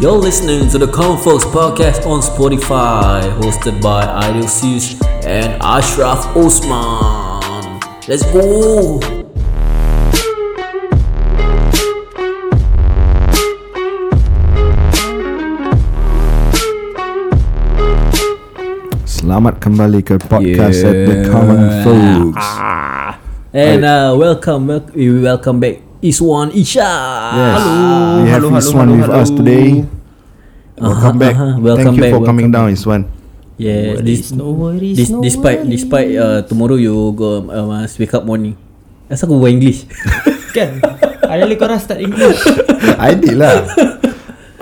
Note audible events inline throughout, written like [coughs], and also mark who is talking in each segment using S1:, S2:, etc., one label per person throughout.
S1: You're listening to the Common Folks podcast on Spotify, hosted by Ideal Seuss and Ashraf Osman. Let's go!
S2: Selamat kembali ke podcast yeah. at the
S1: Yeah.
S2: Common Folks.
S1: And uh, welcome, wel- we welcome back Iswan Isha. Ah,
S2: Yes, we have
S3: hello,
S2: Iswan
S3: hello,
S2: with us
S3: hello.
S2: today. Welcome back.
S1: aha, welcome
S2: Thank you
S1: back,
S2: for coming
S1: welcome
S2: down, Iswan.
S1: Yeah, this, this, despite despite uh, tomorrow you go uh, must wake up morning. Asal aku buat [laughs] English?
S3: Kan Ada korang start English
S2: I did lah.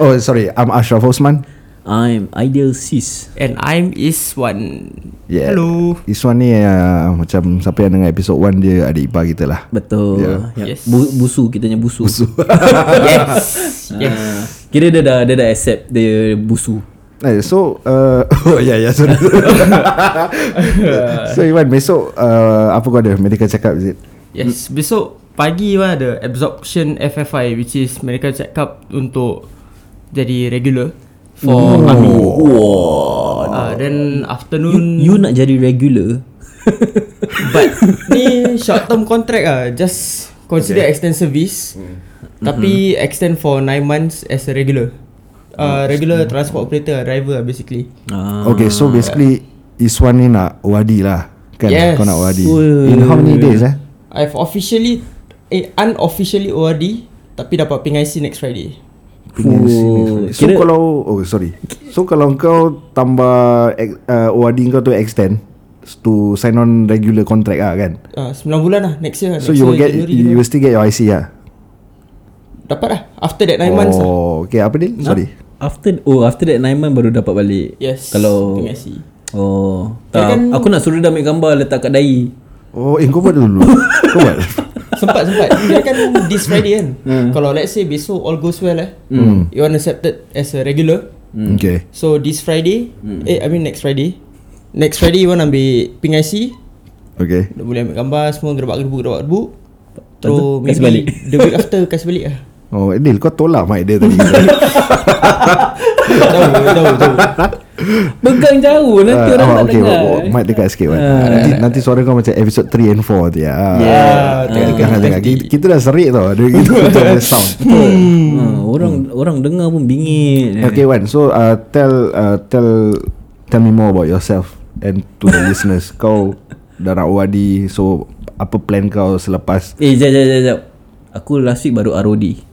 S2: Oh, sorry. I'm Ashraf Osman.
S1: I'm Ideal Sis.
S3: And I'm Iswan
S2: Yeah.
S3: Hello
S2: Iswan ni uh, macam siapa yang dengar episod 1 dia adik ipar kita lah.
S1: Betul.
S2: Yeah.
S1: Ya,
S3: Yes.
S1: Bu- busu kitanya busu. busu.
S3: Yes Yes
S1: Kira dia dah dia dah accept dia busu.
S2: Eh, so uh, [laughs] Oh ya yeah, ya yeah, sorry So Iwan besok uh, Apa kau ada Medical check up is it
S3: Yes Besok pagi pun ada Absorption FFI Which is medical check up Untuk Jadi regular For army
S1: Wah.
S3: uh,
S1: You,
S3: Then afternoon
S1: you nak jadi regular?
S3: [laughs] But Ni short term contract ah, Just Consider okay. extend service mm. Tapi mm-hmm. extend for 9 months As a regular uh, Regular transport operator Driver ah, basically
S1: Ah.
S2: Okay so basically Iswan ni nak OAD lah Kan
S3: Yes.
S2: Kau nak OAD
S1: Weh.
S2: In how many days eh
S3: I've officially eh, Unofficially ORD Tapi dapat ping IC next Friday
S2: Punya
S1: Fuh.
S2: sini. So
S1: Kira-
S2: kalau Oh sorry So kalau kau Tambah ex- uh, OAD kau tu extend To sign on regular contract lah kan
S3: uh, 9 bulan lah next year lah,
S2: So
S3: next
S2: you will
S3: year,
S2: get
S3: January
S2: You
S3: tu.
S2: will still get your IC lah
S3: Dapat lah After that 9 oh. months lah
S2: Oh Okay apa dia Sorry
S1: After oh after that 9 month baru dapat balik.
S3: Yes
S1: Kalau
S3: Ping IC
S1: Oh, tak.
S3: Kirakan-
S1: aku nak suruh dia ambil gambar letak kat dai.
S2: Oh eh kau buat
S3: [laughs]
S2: dulu Kau buat
S3: Sempat sempat Kira kan this Friday
S2: [laughs]
S3: kan
S2: Hmm.
S3: Kalau let's say besok all goes well eh You are accepted as a regular
S2: Okay
S3: So this Friday
S2: Hmm.
S3: Eh I mean next Friday Next Friday you want ambil ping IC
S2: Okay
S3: Dia boleh ambil gambar semua gerbak gerbu gerbak gerbu
S1: tu,
S3: Terus
S1: kasih
S3: maybe
S1: balik.
S3: The week after kasih balik
S2: [laughs]
S3: lah
S2: Oh Adil kau tolak mic dia
S3: [laughs]
S2: tadi
S3: Jauh jauh jauh
S1: Begang jauh nanti
S2: Ah,
S1: orang
S2: awak
S1: tak
S2: okay,
S1: dengar.
S2: awak- awak Mic dekat sikit Wan.
S1: Ah.
S2: nanti, nanti suara kau macam episode 3 and 4 tu ya. Tengah-
S3: Ah. Yeah,
S2: tengah-
S3: tengah-
S2: tengah. Kita, kita dah serik tau Dia [laughs] gitu macam ada sound
S1: Ha, orang
S2: Hmm.
S1: orang dengar pun bingit.
S2: Okay Wan So uh, tell uh, Tell Tell me more about yourself And to
S1: [laughs]
S2: the listeners Kau Dah nak OAD So Apa plan kau
S1: [laughs]
S2: selepas
S1: Eh, jap jap jap jap. Aku last week baru ROD.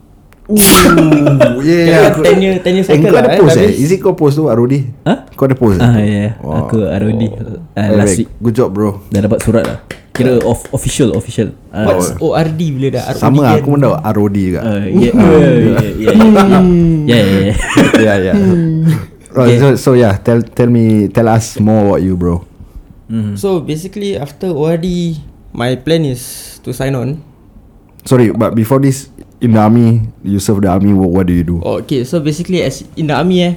S2: Ooh,
S3: Kira kan 10 year 10
S2: Eh
S3: year cycle
S2: kau
S3: lah
S2: ada
S3: eh,
S2: post eh
S3: habis.
S2: Is it kau post tu Arudi
S1: Ha?
S2: Kau ada post eh?
S1: Ah, ya. Yeah.
S2: Wah.
S1: Aku ROD uh,
S2: Very
S1: last
S2: baik. Ah.
S1: week.
S2: Good job bro
S1: Dah dapat surat lah. Kira off, official official. Ah,
S3: What's ORD bila dah ROD
S2: Oh. Sama
S3: kan?
S2: aku pun dah ROD juga [laughs]
S1: Uh, yeah, yeah, yeah, yeah, [laughs] Hmm. yeah, yeah, yeah.
S2: yeah, yeah. Right, so, so yeah, tell tell me, tell us more about you, bro.
S3: So basically after ORD My plan is to sign on
S2: Sorry, but before this, in the army, you serve the army. What, what do you do?
S3: oh, Okay so basically as in the army eh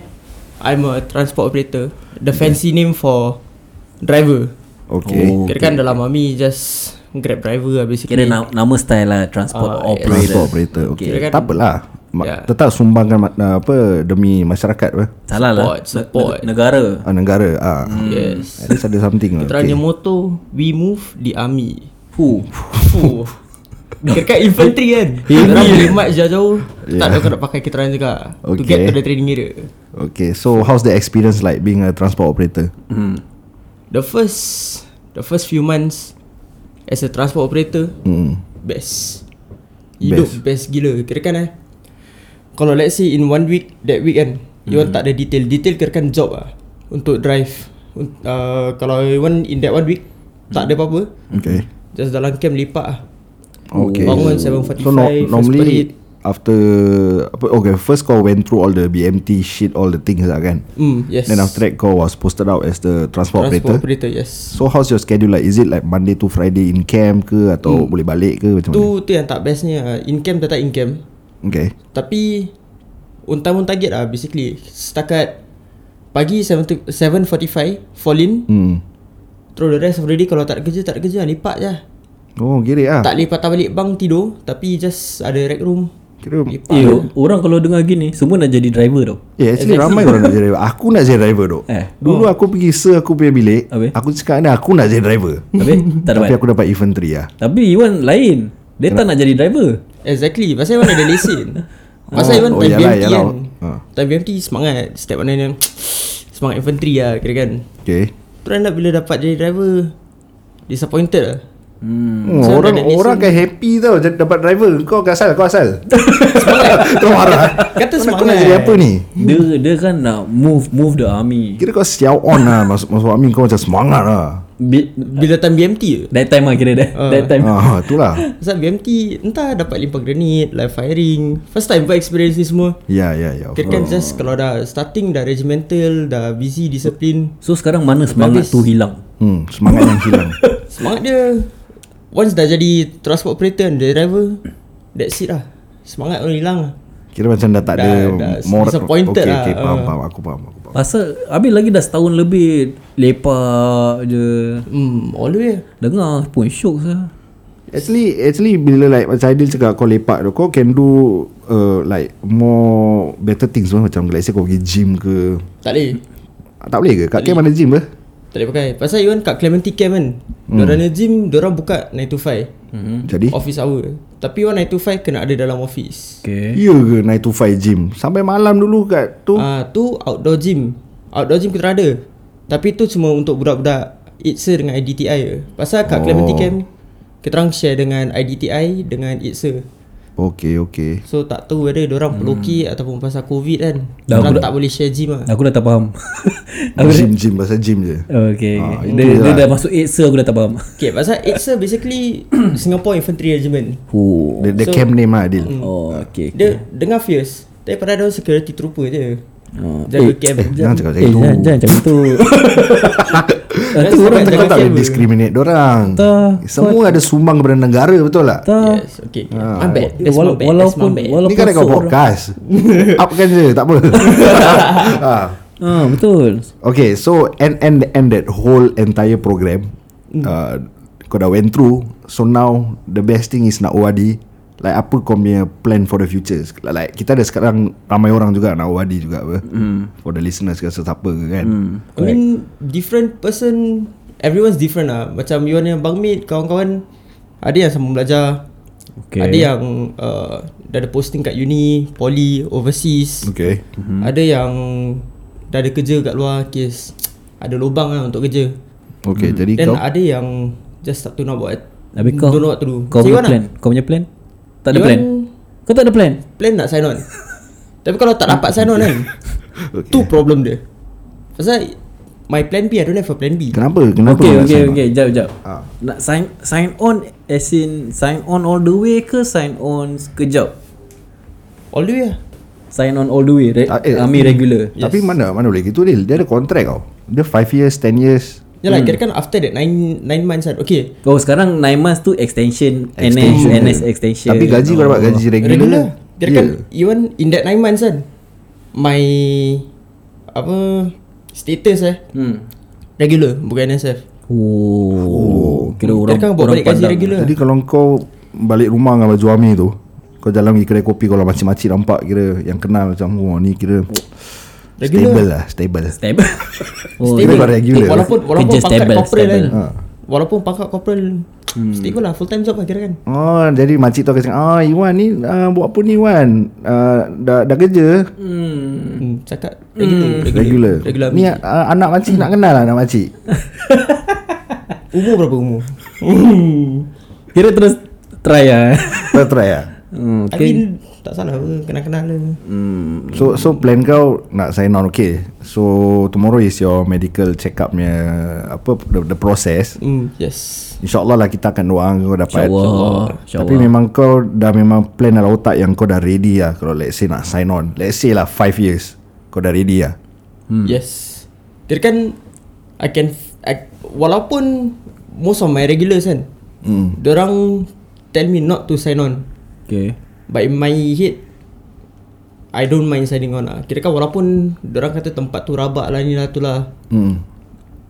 S3: I'm a transport operator The fancy name for driver
S2: Okay.
S1: Oh,
S3: Kira kan dalam army just grab driver lah basically
S1: Kira na- nama style lah transport
S3: Ah, yes.
S1: operator.
S2: Transport operator. Okay.
S3: Kira kan-
S2: tak apalah. Ma-
S3: Yeah.
S2: Tetap sumbangkan ma- uh, apa demi masyarakat apa?
S1: Salah lah.
S3: Support, support.
S1: Ne- negara.
S2: Ah, negara. Ah.
S3: Hmm. Yes
S2: At least ada something lah.
S3: Terangnya
S2: Okay.
S3: motor We move the
S2: [laughs]
S3: army
S1: Fu.
S3: Fuh Kira kan infantry kan Orang berkhidmat jauh-jauh Tak ada kau nak pakai kita orang juga To get
S2: Okay.
S3: to the training area
S2: okay. So how's the experience like being a transport operator?
S3: The first The first few months As a transport operator
S2: Hmm.
S3: Best Hidup best, gila Kira kan eh Kalau let's say in one week That week kan You
S2: Hmm.
S3: want tak ada detail Detail kira kan job lah Untuk drive Un- uh, Kalau you want in that one week
S2: Hmm.
S3: Tak ada apa-apa
S2: Okay.
S3: Just dalam camp lipat lah
S2: Okay.
S3: Bangun 7.45
S2: So no,
S3: first parade.
S2: normally after apa okay first kau went through all the BMT shit all the things lah kan.
S3: Hmm, yes.
S2: Then after that kau was posted out as the transport, operator.
S3: transport operator. yes.
S2: So how's your schedule like? Is it like Monday to Friday in camp ke atau boleh balik ke macam
S3: Tu
S2: mana?
S3: tu yang tak bestnya ah. in camp tetap in camp.
S2: Okay.
S3: Tapi unta pun target lah basically. Setakat pagi 7 to- 7.45 fall in.
S2: Hmm.
S3: Terus the rest of the day kalau tak ada kerja tak ada kerja lipat je. lah.
S2: Oh, gini ah.
S3: Tak boleh patah balik bang tidur tapi just ada rec room.
S2: Kira
S1: Eh, orang kalau dengar gini Semua nak jadi driver tau
S2: Eh actually ramai orang nak jadi driver Aku nak jadi driver tu
S1: Eh.
S2: Dulu
S3: oh.
S2: aku pergi se aku punya bilik
S1: Habis?
S2: Aku cakap dengan dia, aku nak jadi driver
S1: Habis tak
S2: Tapi
S1: dapat
S2: aku dapat infantry lah
S1: Tapi Iwan lain Dia tak nak jadi driver
S3: Exactly Pasal Iwan ada
S2: [laughs]
S3: lesen Pasal
S2: Oh,
S3: Iwan
S2: oh,
S3: time
S2: yalah,
S3: BMT
S2: yalah.
S3: kan
S2: Ha.
S3: Time BMT semangat Step mana yang Semangat infantry lah Kira kan
S2: Okay
S3: Terus nak bila dapat jadi driver Disappointed lah
S2: Hmm,
S3: So,
S2: orang
S3: ada lesen.
S2: orang kan happy tau jadi- dapat driver kau kat asal kau
S3: [laughs]
S2: asal kau marah
S3: Kata
S2: Kau nak- kau
S3: semangat.
S2: nak jadi apa ni
S1: Dia dia kan nak move move the army
S2: kira kau siau on lah masuk masuk amin kau macam semangat lah
S1: Bi-
S3: Bila time BMT je
S1: That time lah kira dah
S3: Ah.
S1: That time
S2: ah itulah
S3: Pasal BMT Entah dapat limpah granit Live firing First time buat experience ni semua
S2: ya ya ya
S3: Kira kan just Kalau dah starting Dah regimental Dah busy Disiplin
S1: So sekarang mana semangat
S3: Bagus.
S1: tu hilang
S2: hmm semangat yang hilang
S3: Semangat dia Once dah jadi Transport operator and Jadi driver That's it lah Semangat orang hilang lah
S2: kira macam dah tak
S3: Dah-
S2: ada
S3: dah
S2: moral
S3: disappointed
S2: okay,
S3: lah.
S2: okay, faham,
S3: Ah.
S2: faham aku faham aku faham
S1: Pasal Habis lagi dah setahun lebih Lepak je
S3: Hmm All the way lah.
S1: Dengar pun syok sah
S2: Actually, actually bila like macam Aidil cakap kau lepak tu, kau can do uh, like more better things pun macam like say kau pergi gym ke. Ah,
S3: Tak boleh
S2: Tak boleh ke? Kat camp ada gym ke?
S3: Tak boleh pakai Pasal even kat Clementi camp kan hmm. Diorang punya gym Diorang buka 9 to 5
S1: Hmm.
S2: Jadi,
S1: Oh,
S3: Office hour Tapi orang 9 to 5 Kena ada dalam office
S1: Okay
S2: ya ke 9 to 5 gym? Sampai malam dulu kat tu.
S3: Ah uh, Tu outdoor gym Outdoor gym kita ada Tapi tu cuma untuk budak-budak ITSA dengan IDTI je Pasal kat
S2: Oh.
S3: Clementi camp Kita orang share dengan IDTI Dengan ITSA
S2: Okay, okay.
S3: So tak tahu whether Diorang hmm. peloki Ataupun pasal covid kan
S1: Dah
S3: Diorang
S1: budak-
S3: tak boleh share gym lah
S1: Aku dah tak faham [laughs] Aku dah
S2: Gym, gym, pasal gym je.
S1: Okay,
S2: Ah,
S1: okay.
S2: itu
S1: Dia,
S2: je
S1: dia
S2: lah.
S1: dah masuk 8 so aku dah tak faham
S3: Okay pasal ITSA
S1: [coughs]
S3: basically Singapore Infantry Regiment
S1: Oh,
S2: The, the camp name lah Adil.
S1: oh okay, okay.
S3: Dia dengar fierce Tapi padahal dia orang security trooper je
S1: Ah,
S3: Jaga
S1: [laughs]
S3: camp
S2: Jangan cakap macam
S1: Eh,
S2: itu.
S1: jangan, jangan macam
S2: [laughs]
S1: itu
S2: Itu orang kau
S3: Jangan
S2: tak
S3: cakap
S2: boleh
S3: camp.
S2: discriminate orang.
S1: Tak.
S2: Semua ada sumbang kepada negara betul lah.
S1: Tak
S3: Yes okay, okay. My bad That's
S1: Ah. Wala-
S3: my bad That's my
S1: Walaupun
S3: bad
S2: Ni
S1: Walaupun
S2: kan kau
S1: seorang-
S2: podcast. [laughs] Upkan je,
S1: [laughs]
S2: tak apa. ah.
S1: Ah, Betul
S2: Okay, so and and and that whole entire program,
S1: Hmm.
S2: mm. uh, kau dah went through. So now the best thing is nak OAD. Like apa kau punya plan for the future? Like, like kita ada sekarang ramai orang juga nak OAD juga apa.
S1: Hmm.
S2: Mm. For the listeners ke sesiapa ke kan. Mm.
S3: I mean different person Everyone's different lah Macam you yang bang mate Kawan-kawan Ada yang sama belajar
S1: Okay.
S3: okay. Ada yang uh, Dah ada posting kat uni Poly Overseas
S2: Okay.
S1: Mm-hmm.
S3: hmm. Ada yang Dah ada kerja kat luar Kes Ada lubang lah untuk kerja
S1: Hmm.
S2: Okay, mm. jadi
S3: Then
S2: kau
S3: ada yang Just tak tahu nak buat
S1: Habis kau
S3: Don't know what to do
S1: Kau
S3: So,
S1: punya
S3: you want
S1: plan Kau punya plan Tak ada
S3: You
S1: plan Kau tak ada plan
S3: plan nak sign on Tapi kalau tak dapat sign
S1: [laughs]
S3: on kan okay. Tu problem dia Pasal My plan B I don't have a plan B
S2: kenapa kenapa
S1: Okay
S2: kau nak
S1: okay
S2: sign on?
S1: okay Jap jap
S2: Ah.
S1: Nak sign sign on As in Sign on all the way ke Sign on sekejap
S3: All the way lah
S1: Sign on all the way re-
S2: Ah, eh,
S1: Army regular
S2: Tapi mana mana boleh gitu Dil Dia ada kontrak kau Dia 5 years 10 years
S3: Yalah hmm. kira kan after that 9 9 months kan Okay
S1: Oh sekarang 9 months tu extension, NS NS extension
S2: Tapi gaji kau dapat gaji regular,
S3: Regular Kira
S2: Ya
S3: kan Even in that 9 months kan My Apa Status eh
S1: hmm.
S3: Regular Bukan NSF
S1: Oh, Kira orang
S3: Kira kan buat
S1: orang
S3: balik gaji
S1: pandang.
S3: regular
S2: Jadi kalau kau balik rumah dengan baju army tu Kau jalan pergi kedai kopi Kalau macam-macam nampak kira Yang kenal macam Wah ni kira
S3: Regular.
S2: Stable lah Stable
S1: Stable
S3: [laughs]
S1: oh,
S2: Stable. kau regular.
S3: Eh, Walaupun Walaupun
S1: Kerja
S3: pangkat
S1: stable,
S3: corporal
S1: stable.
S3: kan Walaupun pangkat corporal Stable lah full time job lah kira kan
S2: Oh jadi makcik tu akan cakap Ah Iwan ni uh, buat apa ni Iwan uh, dah, dah kerja
S3: hmm. Cakap regular,
S2: Regular,
S3: Regular
S2: Ni uh, anak makcik nak kenal lah anak makcik
S3: Umur berapa umur?
S1: Kira terus try lah
S2: Kau try lah
S1: hmm,
S3: Okay. I mean tak salah apa kenal-kenal lah.
S2: So so plan kau nak sign on okay So tomorrow is your medical check up punya Apa the, the process
S3: Hmm, yes.
S2: InsyaAllah lah kita akan doa kau dapat
S1: InsyaAllah
S2: Tapi memang kau dah memang plan dalam otak yang kau dah ready lah Kalau let's say nak sign on Let's say lah 5 years Kau dah ready lah
S3: Hmm. Yes. Kira kan I can I, walaupun most of my regulars kan. Hmm. Diorang tell me not to sign on.
S1: Okay
S3: But in my head I don't mind signing on lah. Kira kan walaupun diorang kata tempat tu rabak lah ni lah tu lah.
S2: hmm.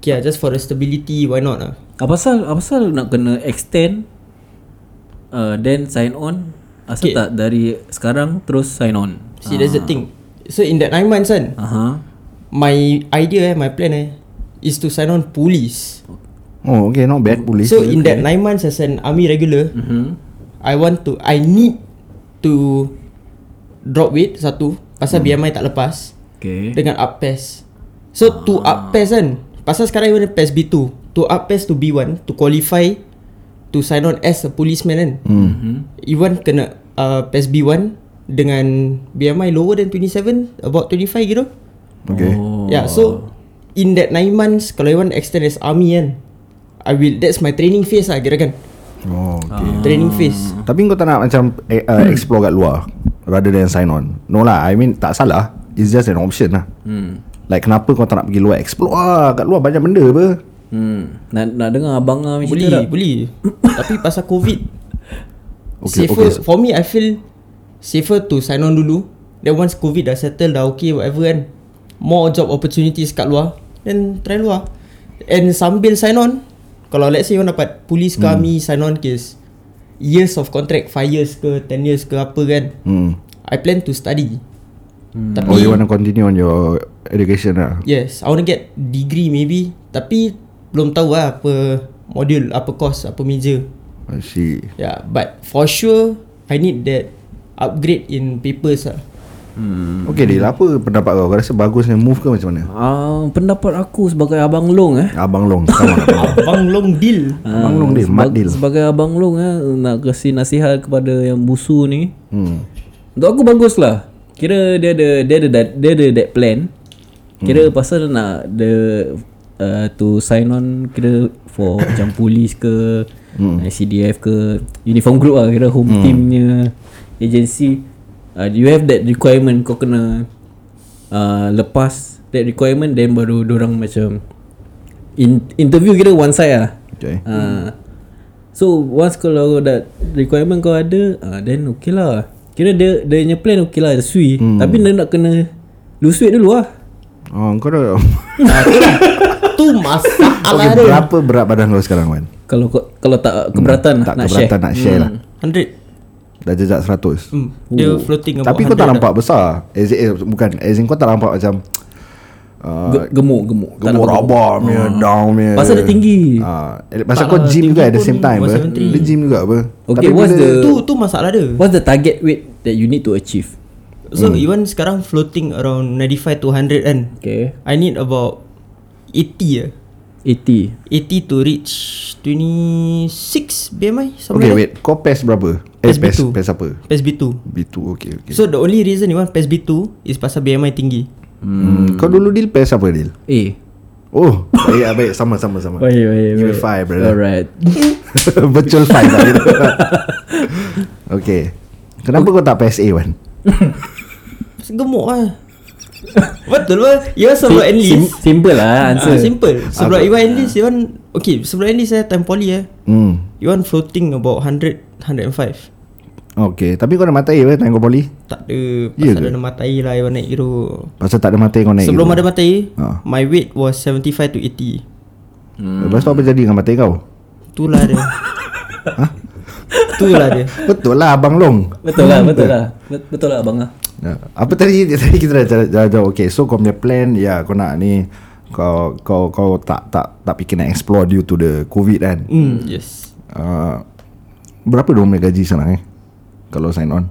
S3: Okay lah, just for the stability why
S1: Ah,
S3: not lah.
S1: Apa pasal Apa pasal nak kena extend uh, Then sign on Asal
S3: Okay.
S1: tak dari sekarang terus sign on.
S3: See that's
S2: Ah.
S3: the thing So in that 9 months kan
S1: Aha. Uh-huh.
S3: My idea eh My plan eh Is to sign on police
S2: Oh okay not bad police
S3: So in that 9 months As an army regular mm-hmm. I want to I need To Drop weight Satu Pasal mm. BMI tak lepas
S1: Hmm. Okay. Ah.
S3: Dengan up PES So to up PES kan Pasal sekarang even PES B2 To up PES to B1 To qualify To sign on as a policeman kan
S1: Hmm.
S3: mm-hmm. Even kena uh, PES B1 Dengan BMI lower than 27 About 25 gitu
S2: Okay
S1: Oh.
S3: Yeah so In that 9 months Kalau even extend as army kan I will That's my training phase lah kira kan
S2: Oh okay
S1: Hmm.
S3: Training phase
S2: Tapi kau tak nak macam eh,
S3: Hmm.
S2: uh, Explore kat luar Rather than sign on No lah I mean tak salah It's just an option lah hmm. Like kenapa kau tak nak pergi luar Explore lah Kat luar banyak benda apa
S1: Hmm. Nak nak dengar abang ah macam
S3: Boleh Boleh Tapi pasal covid okay, safer okay. for me I feel safer to sign on dulu then once covid dah settle dah okay whatever kan more job opportunities kat luar then try luar and sambil sign on kalau let's say you dapat police ke army sign on case years of contract 5 years ke 10 years ke apa kan
S2: hmm.
S3: I plan to study hmm. tapi
S2: Or you want to continue on your Education lah
S3: yes I want to get degree maybe tapi belum tahu lah apa module apa course apa major
S2: I see
S3: Yeah, Ya, but for sure I need that upgrade in papers lah.
S1: Hmm.
S2: Okay Dil apa pendapat kau Kau rasa bagus ni move ke macam mana
S1: Ah, pendapat aku sebagai abang long eh.
S2: Abang Long Come on
S1: [laughs]
S2: Abang Long
S3: Abang Long deal.
S1: Ah,
S2: Abang Long Dil Mat Dil
S1: Sebagai abang long eh nak kasi nasihat kepada yang busu ni. Hmm. Untuk aku bagus lah. Kira dia ada dia ada that, dia ada that plan. Kira hmm. pasal nak the uh, to sign on kira for
S2: [coughs]
S1: macam polis ke hmm. CDF ke uniform group lah kira home hmm. teamnya agency uh, you have that requirement kau kena uh, lepas that requirement then baru orang macam in, interview kira one side lah
S2: Okay
S1: Ah. So once kalau dah requirement kau ada, ah then okay lah. Kira dia dia punya plan okay lah, sui. Hmm. Tapi dia nak kena lose weight dulu lah.
S2: Oh kau
S1: [laughs]
S2: dah
S3: tu [laughs] masalah
S2: Okay
S3: dia.
S2: berapa berat badan kau sekarang Wan
S1: Kalau kau- kalau tak keberatan
S2: Hmm, Tak
S1: nak
S2: keberatan
S1: share. Hmm.
S2: nak share lah
S3: 100.
S2: Dah jejak 100
S3: Hmm. Dia floating about
S2: Tapi kau tak
S3: 100
S1: lah.
S2: nampak besar as in, eh, Bukan As in kau tak nampak macam uh,
S1: Ge- gemuk gemuk. Tak
S2: Gemuk
S1: nak
S2: rabak punya Down punya
S1: Pasal dia tinggi. lah,
S2: Ah, eh, Pasal kau gym juga At the same time apa. Dia gym juga apa
S1: Okay, what's
S2: bila-
S1: the
S3: Tu tu masalah dia.
S1: what's the target weight that you need to achieve?
S3: So even sekarang floating around 95 to 100 kan.
S1: Okay.
S3: I need about 80 ah.
S1: 80.
S3: 80 to reach 26 BMI
S2: Okay
S3: something like
S2: wait Kau PES berapa Eh
S3: PES
S2: PES
S3: B2.
S2: PES apa
S3: that. PES B2.
S2: B2 okay, okay.
S3: So the only reason you want PES B2 is pasal BMI tinggi.
S2: Hmm. Kau dulu deal PES apa deal
S1: Eh.
S2: Oh [laughs] Baik ah, baik Sama sama sama
S1: Wait, wait,
S2: Give me five brother
S1: Alright.
S2: [laughs]
S3: [laughs]
S2: Virtual five lah [laughs] gitu. Okay Kenapa kau tak PES A Wan
S3: Gemuk [laughs] lah Betul lah You want sebelum enlist
S1: Sim- simple lah
S3: Ah,
S1: answer.
S3: Simple Sebelum you want enlist You want Okay sebelum enlist eh Time poly eh
S2: Hmm
S3: You want floating about 100 105
S2: Okay Tapi kau dah matai apa Time kau poli
S3: Tak ada
S2: Ya
S3: Pasal
S2: ke?
S3: ada matai lah You want naik hero
S2: Pasal tak ada matai kau naik
S3: Sebelum
S2: gitu.
S3: ada matai
S2: Ah.
S3: My weight was 75 to 80
S2: Hmm. Lepas tu apa jadi dengan matai kau
S3: Itulah
S2: [laughs]
S3: dia Itulah dia
S2: Betul lah Abang Long
S1: Betul lah, betul lah. Bet- Betul lah abang ah.
S2: Ya. Apa tadi [laughs] tadi kita dah jauh- jauh jauh okay so kau punya plan ya kau nak ni kau kau kau tak tak tak fikir nak explore due to the covid kan.
S3: Hmm yes
S2: Uh, berapa dong punya gaji sekarang eh? Kalau sign on.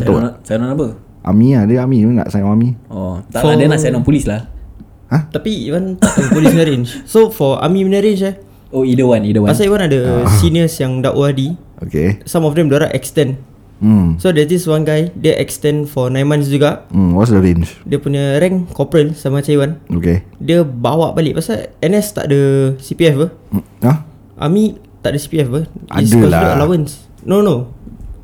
S1: Saya nak saya nak apa?
S2: Ami lah dia Ami dia nak sign on Ami.
S1: Oh, tak lah dia nak sign on polis lah.
S3: Tapi Iwan tak tahu Polis punya range So for army punya range eh
S1: Oh, either one, either one.
S3: Pasal Iwan
S2: Ah.
S3: ada Seniors yang dakwah di
S2: Okay.
S3: Some of them diorang extend
S2: Hmm.
S3: So there's this one guy Dia extend for 9 months juga
S2: Hmm, what's the range?
S3: Dia punya rank corporal sama macam Iwan
S2: Okay.
S3: Dia bawa balik pasal NS tak ada CPF ke
S2: Hmm. Huh?
S3: Army tak ada CPF ke It's
S2: Ada
S3: considered
S2: lah.
S3: allowance No no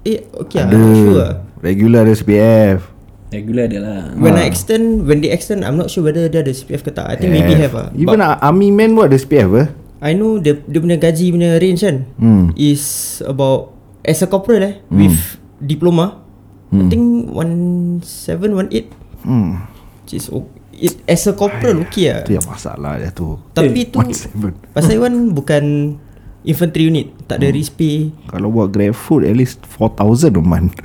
S3: Eh okay lah
S2: Ada.
S3: I'm not sure lah
S2: Regular ada CPF.
S1: Regular dia lah.
S2: Ah.
S3: When I extend When they extend I'm not sure whether dia ada CPF ke tak I think maybe have lah
S2: Even ah,
S3: But
S2: Ami man pun ada CPF eh?
S3: I know dia, dia punya gaji punya range kan
S2: Hmm.
S3: Is about As a corporal eh With diploma I think 17, 18
S2: Hmm.
S3: Which is o- it, As a corporal okay lah
S2: Itu yang masalah dia tu.
S3: Tapi tu
S2: One Eh, seven.
S3: Pasal Iwan bukan Infantry unit Tak
S2: Hmm.
S3: ada risk pay
S2: Kalau buat grab food At least 4,000 a
S3: [laughs]
S2: month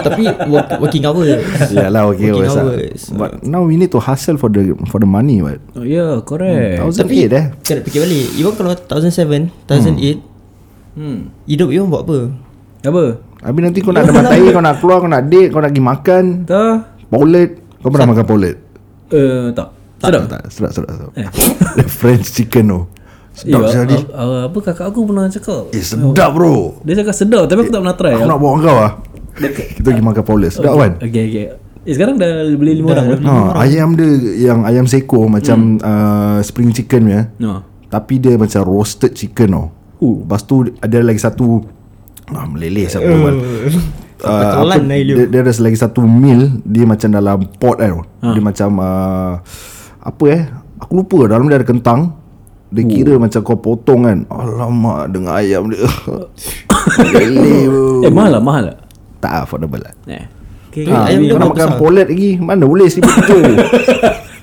S3: Tapi work, working hours
S2: Yalah okay hours,
S3: Working
S2: ah.
S3: hours. uh.
S2: But now we need to hustle For the for the money but
S1: Oh, yeah, correct.
S2: 1,000
S3: Tapi
S2: aid eh
S3: Kena fikir balik Even kalau 2007 2008
S1: Hmm.
S3: Hidup Iwan buat apa
S1: Apa?
S2: Habis nanti kau nak dapat air Kau nak keluar Kau nak date Kau nak pergi makan
S1: Tak?
S2: Poulet Kau pernah makan poulet
S1: Uh, tak. Sedap.
S2: Tak, tak, sedap, sedap, sedap. The French chicken tu.
S1: Eh,
S2: Sedap
S1: ah,
S2: sekali.
S1: ah, ah, apa kakak aku pernah cakap?
S2: Eh, sedap bro.
S1: Dia cakap sedap tapi aku tak pernah try.
S2: Aku nak bawa kau lah. Kita pergi makan Paulus. Sedap kan?
S1: Okay, okay. Eh, sekarang dah beli lima orang. kan? dah.
S2: Ha, ayam dia yang ayam seko macam uh, spring chicken ya.
S1: No.
S2: Tapi dia macam roasted chicken tau.
S1: Uh.
S2: Lepas tu ada lagi satu ah, meleleh
S3: Eh.
S2: siapa uh, [laughs]
S3: Sampai telan lah, Elio.
S2: dia, dia ada lagi satu meal dia macam dalam pot kan. Dia macam uh, apa eh? Aku lupa dalam dia ada kentang. Dia kira macam kau potong kan. Alamak dengan ayam dia. Meleleh bro.
S1: Eh, mahal lah, mahal lah.
S2: Tak affordable lah.
S1: Eh. Okay.
S2: Ha,
S3: ayam dia
S2: kau nak
S3: berapa
S2: makan
S3: besar?
S2: polet lagi Mana boleh seribu tiga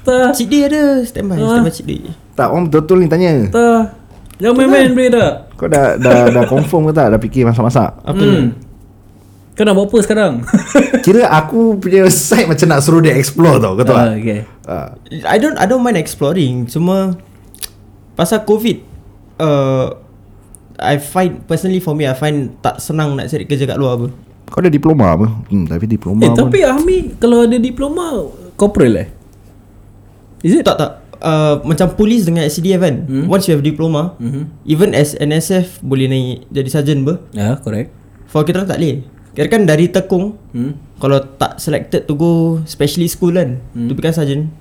S1: Tak,
S3: Cik dia ada Standby
S1: Ah.
S3: Standby cik dia
S2: [laughs] Tak orang betul-betul ni tanya
S1: tak. Jangan main-main boleh tak? Hmm.
S2: Kau dah dah, dah confirm ke tak Dah fikir masak-masak
S3: Apa ni
S1: Kau nak buat apa sekarang?
S2: Kira aku punya side Macam nak suruh dia explore tau Kau tahu
S1: Ah,
S2: tak
S1: okay.
S2: Ah,
S3: I don't I don't mind exploring Cuma Pasal covid uh, I find Personally for me I find Tak senang nak cari kerja kat luar apa
S2: Kau ada diploma apa hmm, Tapi diploma
S1: Eh,
S2: pun-
S1: tapi Ahmi kalau ada diploma, corporal eh? Is it?
S3: Tak tak uh, Macam polis dengan SCDF kan hmm? Once you have diploma
S1: Mhm.
S3: Even as NSF Boleh naik Jadi sergeant ber
S1: Ya, correct.
S3: For kita orang tak boleh Kira kan dari tekung
S1: Hmm.
S3: Kalau tak selected to go Specialist school kan hmm. To become sergeant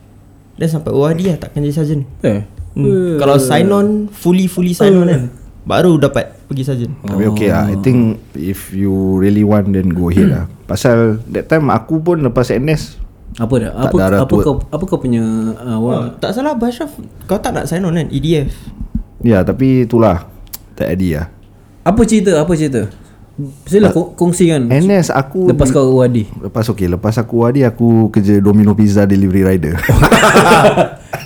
S3: Then sampai ORD lah Takkan jadi sergeant
S1: Eh.
S3: hmm. Kalau sign on Fully fully sign on kan Baru dapat pergi sergeant
S2: Tapi okay lah I think If you really want Then go ahead
S1: [clears throat]
S2: lah Pasal That time aku pun Lepas NS
S1: Apa dah?
S2: Tak
S1: Apa
S2: ada arah
S1: apa
S2: tua.
S1: kau apa kau punya uh,
S3: Wah,
S1: wah.
S3: Ah, tak salah Bashraf Kau tak nak sign on kan EDF
S2: Ya tapi itulah Tak ada lah
S1: Apa cerita? Apa cerita? Sila
S2: Ah.
S1: kong- kongsikan.
S2: NS aku
S1: Hmm. Lepas kau
S2: [laughs]
S1: wadi.
S2: Lepas okay Lepas aku wadi Aku kerja Domino Pizza Delivery
S1: [laughs]
S2: Rider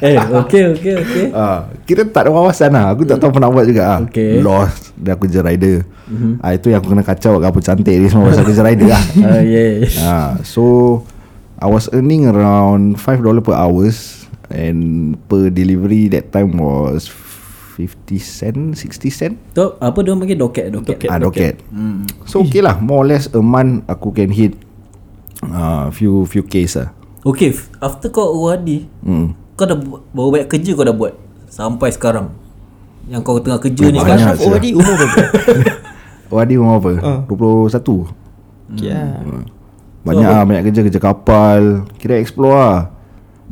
S1: eh, okey okey
S2: [laughs]
S1: okey.
S2: Ah, kira tak ada wawasan lah Aku tak tahu pernah buat juga lah
S1: Okay. Mhm.
S2: Lost Dan aku kerja rider mm-hmm. ah, Itu yang aku kena kacau Kat apa cantik ni semua Pasal kerja rider lah
S1: [laughs] Ah, yeah.
S2: ah, So I was earning around $5 per hours And per delivery that time was 50 cent 60 cent
S1: Tu apa dia orang panggil doket doket.
S2: ah, docket. So okay lah More or less a month Aku can hit uh, Few few case lah
S1: Okey, f- after kau wadi,
S2: mm.
S1: kau dah bu- baru banyak kerja kau dah buat sampai sekarang. Yang kau tengah kerja ni sekarang.
S2: banyak.
S3: Bashraf
S2: sia.
S3: ORD umur berapa?
S2: Wadi umur apa?
S3: Ah.
S2: 21
S3: Okay lah
S2: Banyak lah Banyak kerja Kerja kapal Kira explore lah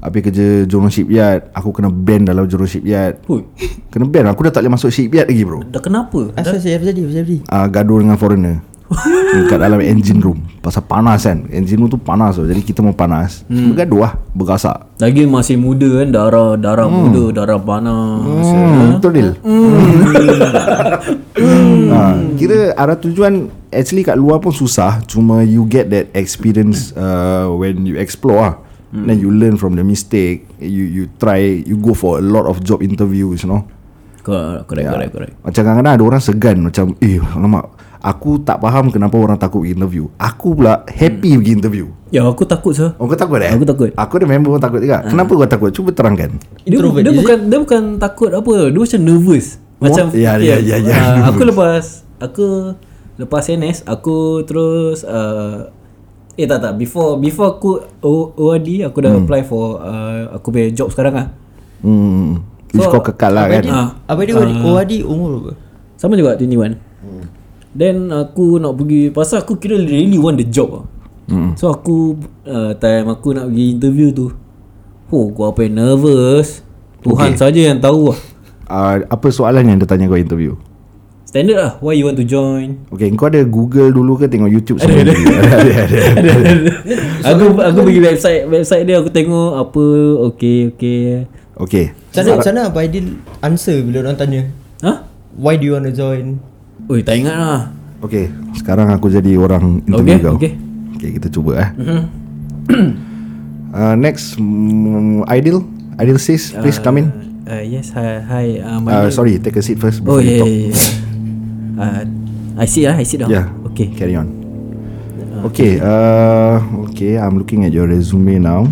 S2: Habis kerja Jurong Shipyard Aku kena ban dalam Jurong Shipyard
S1: Hui,
S2: Kena ban Aku dah tak boleh masuk shipyard lagi bro
S1: dah kenapa?
S3: Asal saya jadi Asal jadi
S2: uh, Gaduh dengan foreigner [laughs] Kat dalam engine room Pasal panas kan Engine room tu panas tau Jadi kita mau panas hmm. Bergaduh lah Bergasak
S1: Lagi masih muda kan darah darah muda, darah panas. [laughs]
S2: Hmm, betul Dil hmm. ha, Kira arah tujuan Actually kat luar pun susah Cuma you get that experience uh, When you explore lah hmm. Then you learn from the mistake You you try You go for a lot of job interviews you know
S1: Correct,
S2: Ya.
S1: correct, correct, correct.
S2: Macam kadang-kadang ada orang segan Macam eh alamak Aku tak faham kenapa orang takut pergi interview Aku pula happy hmm. pergi interview
S1: Ya, aku takut sah.
S2: Oh kau takut eh?
S1: Aku takut. Ah.
S2: Aku ada member pun takut juga Kenapa kau takut? Cuba terangkan
S1: Dia,
S3: Introvert,
S1: dia
S3: is it?
S1: bukan dia bukan takut apa, dia macam nervous. Macam
S2: What? Ya,
S1: okay,
S2: ya, ya, ya,
S1: ah,
S2: nervous.
S1: aku lepas aku lepas NS aku terus uh, eh tak tak before before aku O- ORD aku dah hmm. apply for uh, aku punya job sekarang ah.
S2: Hmm Which
S1: So,
S2: kau kekal lah
S3: Abang
S2: kan
S3: dia,
S1: Ah.
S3: abang dia ORD, ORD umur berapa?
S1: Sama juga 21. Hmm. Then aku nak pergi pasal aku kira really want the job ah. Hmm. So aku uh, time aku nak pergi interview tu. Oh, gua apa yang nervous. Tuhan okay. saja yang tahu lah.
S2: uh, Apa soalan yang dia tanya kau interview?
S1: Standard lah Why you want to [laughs] join
S2: Okay, kau ada Google dulu ke tengok YouTube sebelum interview? ada, ada, ada.
S1: Aku aku pergi website Website dia aku tengok Apa Okay okay
S2: Okay.
S3: Macam mana, macam mana Abang Aidil answer bila orang tanya
S1: Ha?
S3: Why do you want to join?
S1: Ui tak ingat lah
S2: Okay, sekarang aku jadi orang interview
S1: Okay,
S2: kau.
S1: okay. Mm-hmm.
S2: Okay, kita cuba eh. [clears throat] Ah, uh, next, mm, Aidil. Aidil sis, please come in.
S1: Uh, yes, hi, hi. Uh, my
S2: Uh,
S1: name-
S2: sorry, take a seat first
S1: Oh
S2: before you
S1: yeah,
S2: talk.
S1: yeah, yeah. uh, I sit lah, I sit down.
S2: Yeah.
S1: Ah, Okay.
S2: Carry on. Okay. Uh, okay. I'm looking at your resume now.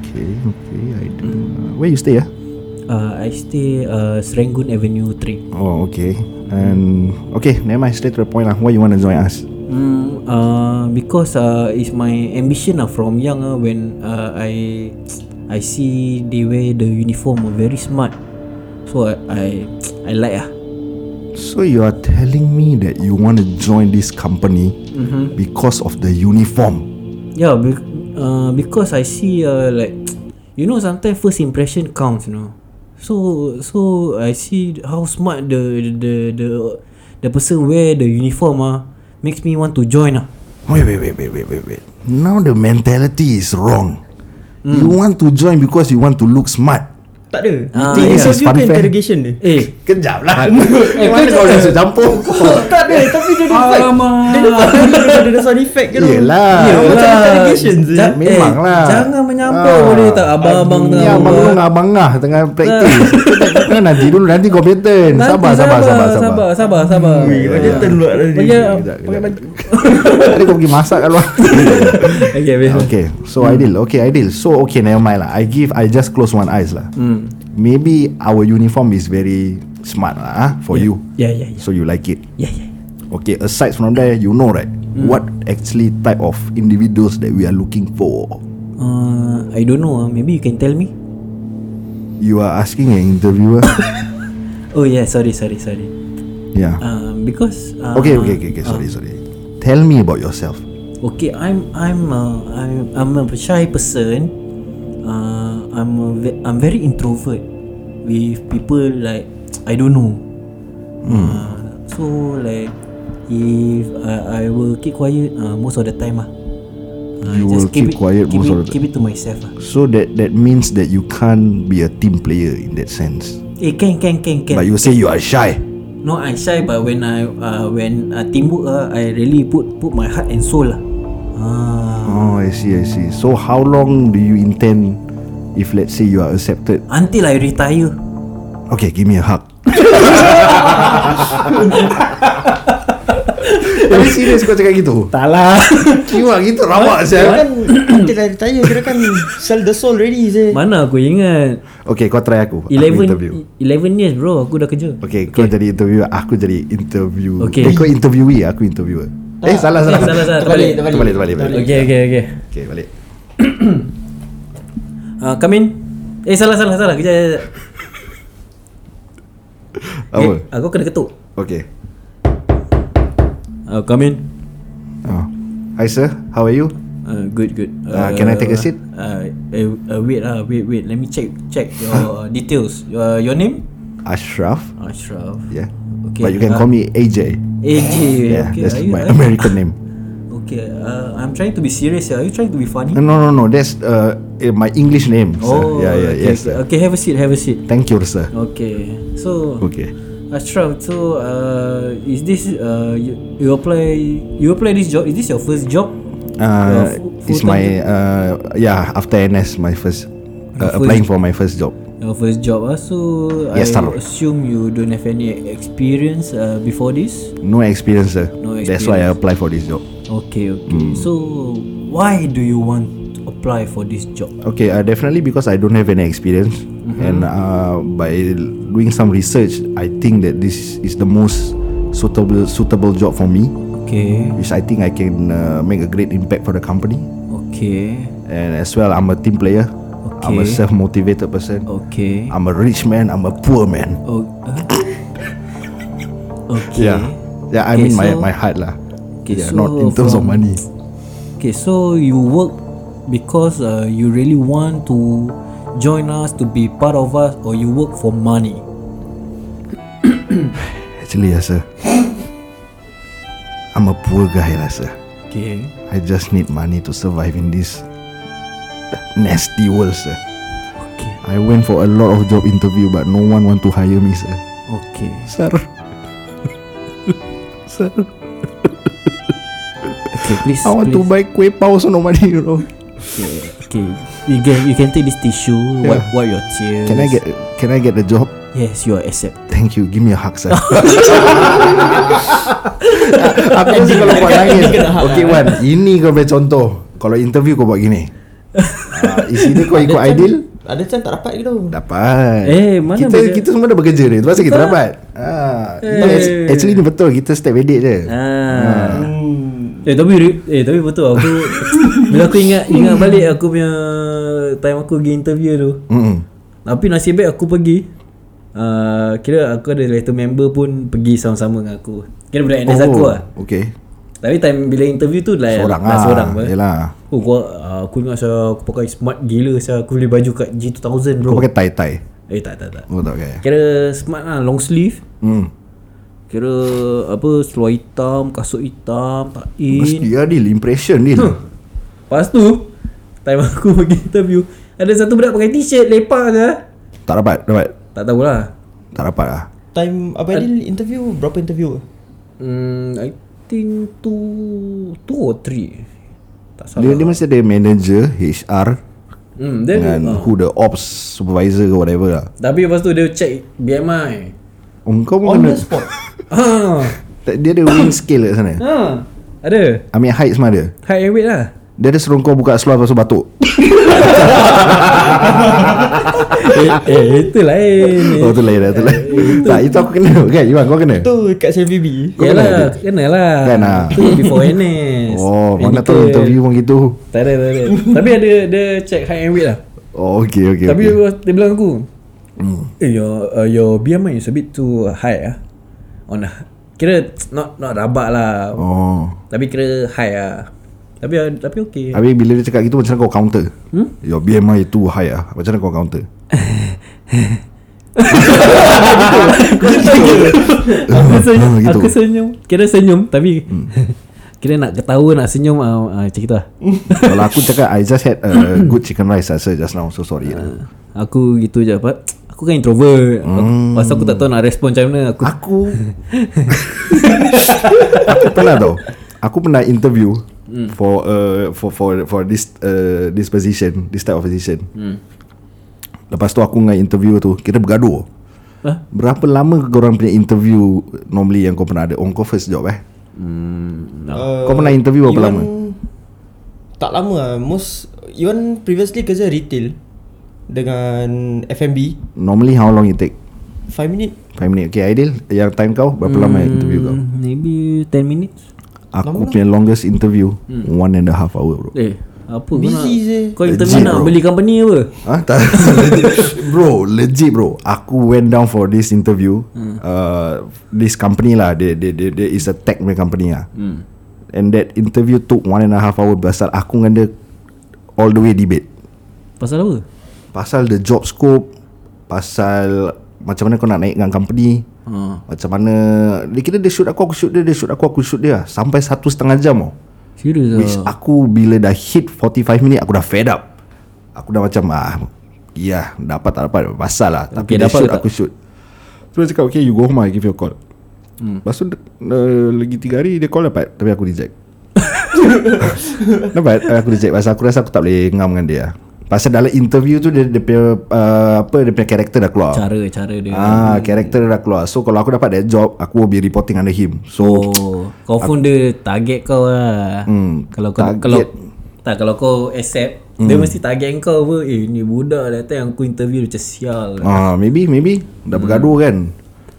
S2: Okay. Okay. I do. Uh, where you stay? Yeah.
S1: Uh, I stay uh, Serangoon Avenue 3.
S2: Oh. Okay. And okay. Never mind. Straight to the point lah. Why you want to join us?
S1: Mm, uh, because uh, it's my ambition uh, from young uh, when uh, I I see they wear the uniform uh, very smart, so I I, I like ah.
S2: So you are telling me that you want to join this company because of the uniform?
S1: Yeah, be, uh, because I see uh, like you know sometimes first impression counts, you know. So so I see how smart the the the the person wear the uniform ah makes me want to join ah.
S2: Wait, wait, wait, wait, wait, wait, wait. Now the mentality is wrong. You want to join because you want to look smart.
S3: Tak ada
S1: Ah,
S3: Itu
S1: yeah.
S3: interview
S2: Fun
S3: ke
S2: fact.
S3: interrogation dia
S1: Eh,
S2: Kejap [laughs] lah. Mana kau dah campur?
S3: Tak ada Tapi dia ada fact
S1: Alamak.
S3: Dia ada fact Dia ada solid fact ke tu Ya,
S2: Yelah.
S3: Yelah Macam interrogation je
S1: Ja-
S2: Memang lah.
S1: Eh, Jangan menyampau ah, boleh tak abang-abang
S2: Ni
S1: tengah Ah.
S2: abang lu ngabangah tengah praktis. [laughs] Kan nanti dulu nanti kau pattern. Sabar sabar sabar sabar. Hmm,
S1: sabar sabar sabar. uh,
S3: Wih, Dia terluat tadi
S1: Bagi
S2: Kejap, kejap. Tadi kau pergi masak kat luar. [laughs]
S1: okay, habis.
S2: Okay, so
S1: Hmm.
S2: ideal. Okay, ideal. So okay, never mind lah. I give I just close one eyes lah.
S1: Hmm.
S2: Maybe our uniform is very smart lah ah, for you.
S1: Yeah, yeah, yeah.
S2: So you like it.
S1: Yeah, yeah.
S2: Okay, aside from there, you know right
S1: Hmm.
S2: what actually type of individuals that we are looking for.
S1: Uh, I don't know ah. Maybe you can tell me.
S2: You are asking an
S1: [coughs]
S2: interviewer.
S1: Oh yeah, sorry, sorry, sorry.
S2: yeah.
S1: Um, because uh,
S2: Okay, okay, okay, okay. Sorry, sorry. Tell me about yourself.
S1: Okay, I'm I'm uh, I'm I'm a shy person. Uh, I'm a ve- I'm very introvert with people like I don't know.
S2: Hmm.
S1: Uh, so like if I, I will keep quiet uh, most of the time ah. Uh,
S2: You will keep quiet
S1: keep
S2: most
S1: it,
S2: of the
S1: Keep it to myself ah.
S2: So that that means that you can't be a team player in that sense.
S1: Eh can can can can.
S2: But you say you are shy.
S1: no, I shy but when I uh, when uh, teamwork ah, I really put put my heart and soul lah. Ah.
S2: Oh, I see, I see. So how long do you intend if let's say you are accepted?
S1: Until I retire.
S2: Okay, give me a hug. [laughs] Tapi serius kau cakap gitu?
S1: Tak lah.
S2: Kiwa gitu rabak saya.
S3: Kira kan Dia dah tanya Kira kan Sell the soul ready je
S1: [laughs] Mana aku ingat
S2: Okay, kau try aku. aku interview.
S1: 11 11 years bro aku dah kerja.
S2: Okay, kau jadi interviewer, aku jadi interview.
S1: Okay.
S2: Eh, kau interviewee, aku interviewer. Eh, salah, salah.
S1: eh, salah, salah.
S3: Terbalik
S1: Terbalik,
S2: Terbalik, terbalik, terbalik.
S1: Okay okay okay.
S2: Okay, balik.
S1: Ah uh, come in. Eh salah salah salah. Kejap. kejap, kejap.
S2: Apa?
S1: Eh, aku kena ketuk.
S2: Okay.
S1: Ah uh, come in.
S2: Oh. Hi sir, how are you?
S1: Uh, good good.
S2: Uh, can I take a seat?
S1: Uh, eh, uh, wait ah uh, wait wait let me check check your uh, [laughs] details. Your your name?
S2: Ashraf.
S1: Ashraf.
S2: Yeah.
S1: Okay,
S2: But you
S1: uh,
S2: can call me AJ.
S1: AJ.
S2: Yeah,
S1: okay.
S2: that's
S1: are you-
S2: my
S1: are you-
S2: American name.
S1: Okay. Uh, I'm trying to be serious. Here. Are you trying to be
S2: [laughs]
S1: funny?
S2: Uh, No, no, no. That's uh, eh, my English name. Sir. yeah,
S1: Oh,
S2: yeah,
S1: okay,
S2: yes,
S1: okay.
S2: sir.
S1: Okay, Oh. have a seat, have a seat.
S2: Thank you, sir.
S1: Okay, so
S2: Okay.
S1: Ashraf, so uh, is this uh, you, you apply you apply this job? Is this your first job? Your fu-
S2: Uh, it's
S1: full-time
S2: my
S1: job?
S2: uh, yeah after NS my first uh,
S1: first-
S2: applying for my first job.
S1: your first job. Uh, so
S2: Yes,
S1: I
S2: sir.
S1: assume you don't have any experience uh, before this.
S2: No experience, sir.
S1: No
S2: That's why I apply for this job.
S1: Okay,
S2: Hmm.
S1: okay. So why do you want to apply for this job?
S2: Okay, uh, definitely because I don't have any experience,
S1: Mm-hmm.
S2: and uh, by doing some research, I think that this is the most suitable suitable job for me,
S1: Okay,
S2: which I think I can uh, make a great impact for the company,
S1: okay,
S2: and as well I'm a team player. I'm a
S1: Okay.
S2: self motivated person.
S1: okay.
S2: I'm a rich man. I'm a poor man.
S1: Oh, [laughs] uh, okay.
S2: Yeah, yeah. I
S1: Okay,
S2: mean my
S1: so-
S2: my heart lah.
S1: Okay,
S2: yeah,
S1: so
S2: not in terms of
S1: from-
S2: money.
S1: Okay, so you work because uh, you really want to join us to be part of us, or you work for money?
S2: Actually, yes,
S1: [laughs]
S2: sir. I'm a poor guy, lah, sir.
S1: Okay.
S2: I just need money to survive in this nasty world, sir.
S1: Okay.
S2: I went for a lot of job interview, but no one want to hire me, sir.
S1: Okay.
S2: Sir, [laughs] sir,
S1: Okay. Please.
S2: I want to
S1: please.
S2: buy kue pao, so no money, you know.
S1: Okay, okay. You can you can take this tissue. Wipe wipe your tears.
S2: Can I get Can I get the job?
S1: Yes, you are accepted.
S2: Thank you Give me a hug sir Aku mesti kalau buat nangis Okay Wan Ini kau punya contoh Kalau interview kau buat gini Ah, Isi dia kau ikut
S3: Ada
S2: ideal
S3: chance- Ada chance tak dapat gitu
S2: Dapat
S1: Eh, mana lah.
S2: kita,
S1: boleh-
S2: kita semua dah bekerja ni Lepas tu kita dapat ah, eh. Actually ni betul Kita step edit je
S1: Ah. Eh tapi re- eh tapi betul aku bila aku ingat ingat balik aku punya time aku pergi interview tu.
S2: Mm-mm.
S1: Tapi nasib baik aku pergi uh, Kira aku ada letter member pun Pergi sama-sama dengan aku Kira budak NS oh. aku lah
S2: Okay
S1: Tapi time bila interview tu lah
S2: Seorang
S1: lah
S2: lah
S1: Seorang pun
S2: Yelah
S1: Oh gua, uh, aku ingat saya aku pakai smart gila saya aku beli baju kat G2000
S2: Kau
S1: bro.
S2: pakai tie-tie
S1: Eh tak tak tak.
S2: Oh tak pakai
S1: Kira smart lah long sleeve.
S2: hmm.
S1: Kira apa seluar hitam, kasut hitam, tak in.
S2: Mesti lah deal Impression deal
S1: Hmm. Lepas tu time [laughs] aku pergi interview ada satu budak pakai t-shirt lepak je.
S2: Tak dapat Dapat
S1: Tak tahulah.
S2: Tak dapat lah
S3: Time Abang Adil interview Berapa interview
S1: Hmm, I think two, two or three. Tak
S2: dia,
S1: salah.
S2: dia mesti ada manager HR
S1: Hmm, then
S2: Dengan
S1: uh,
S2: who the ops Supervisor ke whatever lah
S1: tapi lepas tu dia check BMI.
S2: Oh, Kau pun
S3: On
S2: kena
S3: the spot
S1: ah,
S2: tak- Dia ada wing scale kat sana
S1: ha, ada.
S2: I mean height semua ada
S1: High and weight lah.
S2: Dia ada suruh kau buka seluar Lepas tu batuk
S1: eh, eh, [laughs] itu lain.
S2: Oh tu lain lah tu lain Tak itu aku kena kan Iwan kau kena
S3: Tu kat CVB
S2: kau kena
S1: Yalah, kena lah.
S2: Kan ah.
S1: Itu before NS.
S2: [laughs] Oh mana
S1: Medical.
S2: tahu interview pun gitu
S1: Tak ada, tak ada. tapi ada, dia check high and weight lah.
S2: Oh okay okay
S1: Tapi
S2: okay.
S1: okay. dia bilang aku
S2: Hmm.
S1: Eh your uh, your BMI is a bit too high ah. On a, kira not not rabak lah. Oh.
S2: Oh
S1: Tapi kira high ah. Tapi ah, tapi okay.
S2: Habis bila dia cakap gitu Macam mana kau counter hmm? Your BMI too high lah Macam mana kau counter
S1: aku
S2: [laughs]
S1: senyum,
S2: gitu. Hmm.
S1: aku senyum. Kira senyum tapi [laughs] kira nak ketawa nak senyum ah uh, macam gitu lah.
S2: Hmm. Kalau aku cakap I just had [coughs] a good chicken rice lah, Sir just now So sorry lah
S1: aku gitu je apa. Aku kan introvert. Hmm. Pasal aku tak tahu nak respon macam mana. Aku
S2: Aku [laughs] Aku pernah tau Aku pernah interview mm. for uh, for for for this uh, this position, this type of position.
S1: Hmm.
S2: Mm. Lepas tu aku dengan interviewer tu kita bergaduh.
S1: Huh?
S2: Berapa lama korang punya interview normally yang kau pernah ada? On kau first job eh?
S3: Uh,
S2: Kau pernah interview berapa
S3: Iwan
S2: lama?
S3: Tak lama lah Most Iwan previously kerja retail Dengan F&B
S2: Normally how long it take?
S3: 5 minit
S2: 5 minit. Okay Aidil, yang time kau berapa mm. lama interview kau?
S1: Hmm, maybe 10 minutes.
S2: Aku punya longest interview mm. one and a half hour bro.
S1: Eh, apa
S3: Busy
S1: kau nak, Kau
S3: je.
S1: interview
S2: Legit,
S1: nak
S2: bro.
S1: beli company apa?
S2: Ah, tak, [laughs] legit. bro, legit bro. Aku went down for this interview. Hmm. Uh, this company lah, they they they, they is a tech punya company lah. Hmm. And that interview took one and a half hour pasal aku dengan dia all the way debate.
S1: Pasal apa?
S2: Pasal the job scope, pasal macam mana kau nak naik dengan company.
S1: Ha.
S2: Macam mana Dia kira dia shoot aku Aku shoot dia Dia shoot aku Aku shoot dia Sampai satu setengah jam oh.
S1: Serius
S2: Which
S1: ah.
S2: aku bila dah hit 45 minit Aku dah fed up Aku dah macam ah, Ya dapat tak dapat Pasal lah Tapi
S1: Okay,
S2: dia
S1: dapat
S2: shoot
S1: tak?
S2: aku shoot So dia cakap Okay you go home I give you a call hmm. Lepas tu uh, Lagi tiga hari dia call dapat Tapi aku
S1: [laughs]
S2: reject Dapat aku reject Pasal aku rasa aku tak boleh Ngam dengan dia Pasal dalam interview tu Dia, dia punya uh, Apa Dia punya karakter dah keluar
S1: Cara cara dia.
S2: Ah, karakter dia dah keluar. So kalau aku dapat that job, aku will be reporting under him. So
S1: Oh, kau pun dia target kau lah.
S2: Hmm,
S1: kalau kau
S2: target.
S1: kalau tak kalau kau accept, dia mesti target kau apa. Eh, ni budak datang aku interview dia macam sial.
S2: ah, maybe maybe dah bergaduh
S1: Hmm.
S2: kan.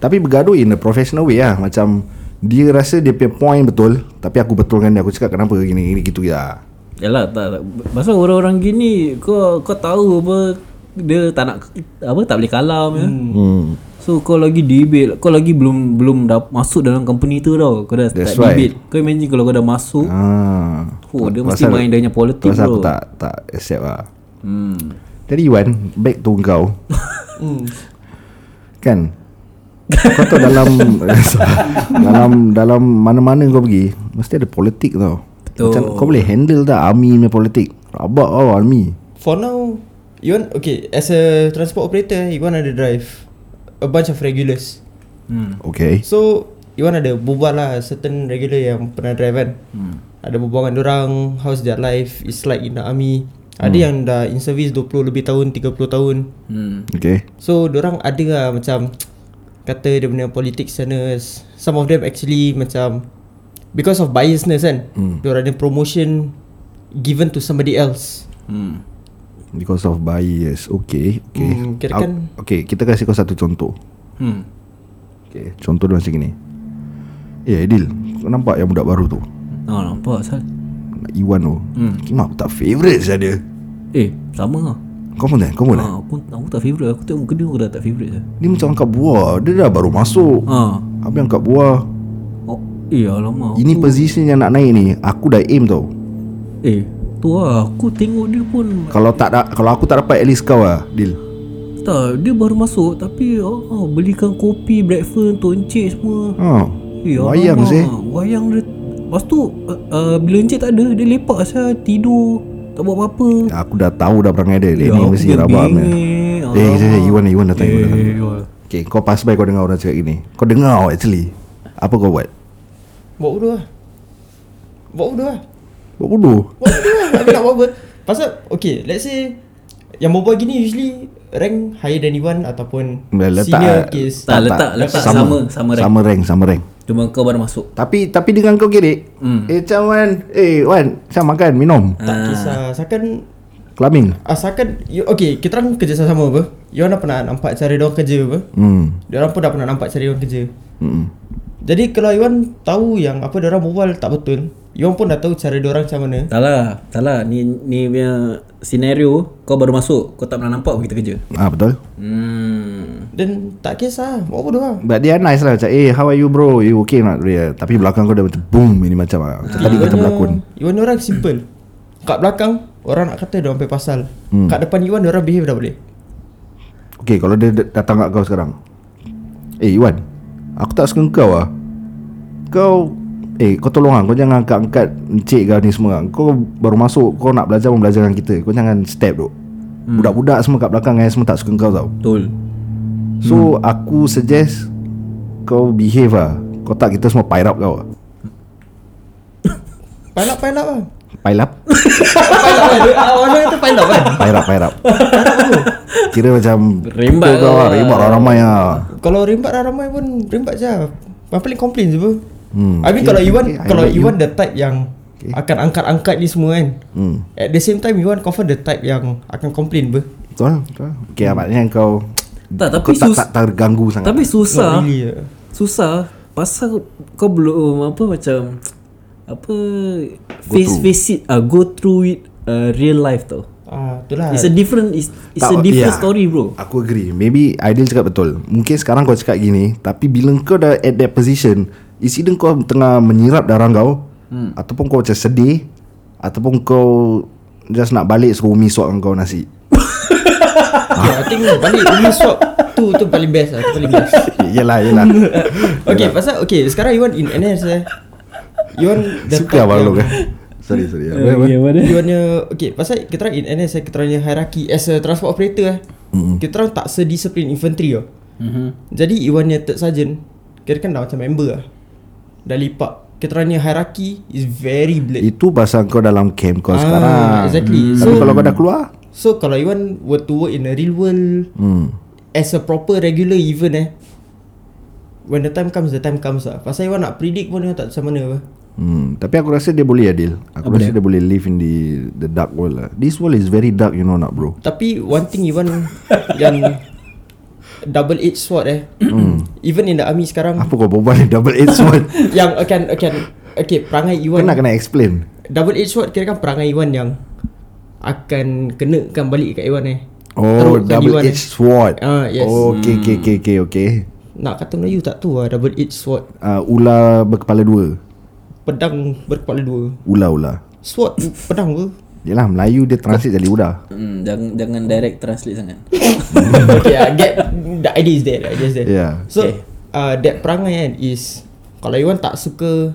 S2: Tapi bergaduh in a professional way lah. Macam dia rasa dia punya point betul, tapi aku betulkan dia. Aku cakap kenapa gini gini gitu ya.
S1: Yalah, tak, tak. Pasal orang-orang gini kau kau tahu apa dia tak nak apa tak boleh kalah hmm. ya.
S2: Hmm.
S1: So kau lagi debate, kau lagi belum belum dah masuk dalam company tu tau. Kau dah
S2: That's
S1: start debate.
S2: right.
S1: Kau imagine kalau kau dah masuk,
S2: Ah.
S1: oh dia mesti main dia punya politik
S2: Pasal aku
S1: bro.
S2: tak tak accept lah. Jadi Iwan, back to
S1: [laughs]
S2: kau.
S3: hmm.
S2: Kan Kau tahu dalam [laughs] Dalam Dalam mana-mana kau pergi Mesti ada politik tau Betul. Macam kau boleh handle tak Army punya politik Rabak tau army
S3: For now Iwan Okay As a transport operator Iwan ada drive A bunch of regulars
S2: Okay
S3: So Iwan ada berbual lah Certain regular yang pernah drive kan hmm. Ada berbual dengan orang How's their life It's like in the army Ada yang dah in service 20 lebih tahun 30 tahun
S1: Hmm.
S2: Okay
S3: So orang ada lah macam Kata dia punya politik sana s- Some of them actually macam Because of biasness kan mm. Diorang ada promotion Given to somebody else
S1: Hmm.
S2: Because of bias Okay Okay
S3: Hmm, kira
S2: Au-
S3: kan-
S2: Okay kita kasih kau satu contoh
S1: Hmm.
S2: Okay Contoh dia macam ni Eh Adil Kau nampak yang budak baru tu
S1: Ah, nampak asal.
S2: Iwan tu hmm. Kenapa tak favourite saja dia
S1: Eh, sama lah.
S2: Kau pun tak Kau pun tak
S1: Ah, aku aku tak favourite. Aku tengok muka dia aku dah tak favourite dah.
S2: Dia macam angkat buah Dia dah baru masuk
S1: Ah.
S2: Habis angkat buah
S1: Oh, eh alamak.
S2: Ini position yang nak naik ni Aku dah aim tau
S1: Eh, tu lah aku tengok dia pun
S2: Kalau tak da- Kalau aku tak dapat At least kau lah Deal
S1: tak, dia baru masuk tapi oh, oh, belikan kopi, breakfast untuk encik semua.
S2: ha.
S1: Eh,
S2: Wayang
S1: alamak,
S2: sih
S1: Wayang dia Lepas tu uh, uh, Bila encik tak ada Dia lepak saya Tidur Tak buat apa-apa
S2: Aku dah tahu dah perangai dia Dia Eh, ni
S1: aku
S2: mesti
S1: dah
S2: rabak punya.
S1: bingit. Ah.
S2: Eh
S1: Alamak.
S2: eh, Iwan Iwan datang Iwan datang
S1: Eh, wah.
S2: Okay kau pass by kau dengar orang cakap gini Kau dengar actually Apa kau buat
S3: Buat bodoh lah Buat bodoh lah
S2: Buat bodoh
S3: Buat bodoh lah Aku nak buat apa Pasal Okay let's say Yang berbual gini usually Rank higher than Iwan Ataupun
S2: Letak- ah.
S3: Senior case
S1: Tak, letak- letak sama- sama rank.
S2: Sama rank Sama rank
S1: Cuma kau baru masuk
S2: Tapi tapi dengan kau kirik
S1: Hmm.
S2: Eh macam Wan Eh Wan Macam makan minum
S3: Tak kisah Asalkan
S2: Clubbing
S3: Asalkan you, Okay kita orang kerjasama apa You orang dah pernah nampak cara dia orang kerja apa
S2: Hmm
S3: Dia orang pun dah pernah nampak cara dia orang kerja
S2: Hmm
S3: Jadi kalau Iwan tahu yang apa dia orang berbual tak betul Iwan pun dah tahu cara dia orang macam mana
S1: Tak lah Tak lah Ni, ni punya Scenario Kau baru masuk Kau tak pernah nampak pun kita kerja
S2: Ah betul
S1: Hmm
S3: Dan tak kisah Buat bodoh lah
S2: But dia nice lah Macam eh how are you bro You okay not dia, Tapi belakang kau dah macam Boom ini macam ah. Macam
S1: Hmm.
S2: tadi kata berlakon
S3: Iwan orang simple Kat belakang Orang nak kata dia orang punya pasal hmm. Kat depan Iwan dia orang behave dah boleh
S2: Okay kalau dia dat- datang kat kau sekarang Eh Iwan Aku tak suka kau lah Kau Eh kau tolong lah Kau jangan angkat-angkat Encik kau ni semua Kau baru masuk Kau nak belajar Belajar dengan kita Kau jangan step tu
S1: Hmm.
S2: Budak-budak semua kat belakang eh, Semua tak suka kau tau
S1: Betul
S2: So hmm. aku suggest Kau behave lah Kau tak kita semua pile up kau lah
S3: Pilot pilot lah
S2: Pile up
S3: Pilot lah Dia- [laughs] Orang kata pilot kan
S2: Pile up
S1: [laughs]
S2: Pile up Kira macam
S1: Rembat
S2: pukul kau
S1: lah.
S2: lah Rembat ramai-ramai lah
S3: Kalau rimbat dah ramai pun Rimbat je lah. Paling complain je pun
S2: Hmm.
S3: I mean
S2: Okay,
S3: kalau Iwan
S2: okay, I
S3: Kalau
S2: like you.
S3: Iwan the type yang
S2: Okay.
S3: Akan angkat-angkat ni semua kan
S2: hmm.
S3: At the same time Iwan confirm the type yang Akan complain ber
S2: Betul lah, betul lah. Okay lah, maknanya kau
S1: Tak
S2: Kau
S1: tapi
S2: tak,
S1: sus
S2: tak terganggu sangat
S1: Tapi susah
S3: Not really lah.
S1: Susah Pasal kau belum um, Apa macam Apa Face face it uh, Go through it uh, Real life tau
S3: Ah, itulah.
S1: It's a different It's, it's a
S2: Tak,
S1: different
S2: yeah.
S1: story bro
S2: Aku agree Maybe Aidil cakap betul Mungkin sekarang kau cakap gini Tapi bila kau dah at that position It's either kau tengah menyirap darah kau hmm. Ataupun kau macam sedih Ataupun kau Just nak balik Suruh Umi suapkan kau nasi
S3: yeah, I think balik umi swap tu tu paling best lah, tu paling best.
S2: Ya, Yelah
S3: [laughs]
S2: yelah
S3: Okay, pasal okay, sekarang Iwan in NS eh.
S2: [laughs]
S3: Iwan the
S2: Suka
S3: type
S2: abang lu
S3: yang- [laughs]
S2: kan Sorry sorry Apa, apa?
S3: Iwan punya okay, pasal kita orang in NS eh, kita orang punya hierarchy as a transport operator eh. Kita orang tak sedisiplin infantry oh. Jadi Iwan punya third sergeant kira kan dah macam member lah. Dah lipat. Kita orang punya hierarchy is very blurred.
S2: Itu pasal kau dalam camp kau
S3: Ah,
S2: sekarang
S3: exactly.
S2: Tapi
S3: So-
S2: kalau kau dah keluar
S3: So kalau Iwan were to work in a real world
S2: hmm.
S3: as a proper regular event eh When the time comes, the time comes lah Pasal Iwan nak predict pun Iwan tak macam mana apa
S2: hmm. Tapi aku rasa dia boleh Adil Aku rasa dia boleh live in the The dark world lah This world is very dark you know not bro
S3: Tapi one thing Iwan yang double edged sword eh [clears throat] Even in the army sekarang
S2: Hmm. Apa kau berbual ni double edged
S1: [laughs]
S2: sword
S3: Yang akan, akan Okay, perangai
S2: Kau
S3: Iwan
S2: nak kena explain
S3: Double edged sword kira kan perangai Iwan yang Akan kenakan balik kat Iwan eh
S2: Oh
S3: Terukkan
S2: double
S3: Iwan,
S2: edged sword
S3: Ah, yes.
S2: Oh okay okay
S1: Hmm.
S2: okay okay, okay.
S3: Nak kata Melayu tak tu lah double edged sword
S2: Uh, ular berkepala dua
S3: Pedang berkepala dua
S2: Ular-ular
S3: Sword pedang ke?
S2: Yelah Melayu dia transit jadi ular
S1: hmm, jangan, jangan direct translate sangat
S3: okay, I get the idea is there. The idea is there.
S2: Yeah.
S3: So,
S1: Okay.
S3: okay. uh, that perangai kan is kalau Iwan tak suka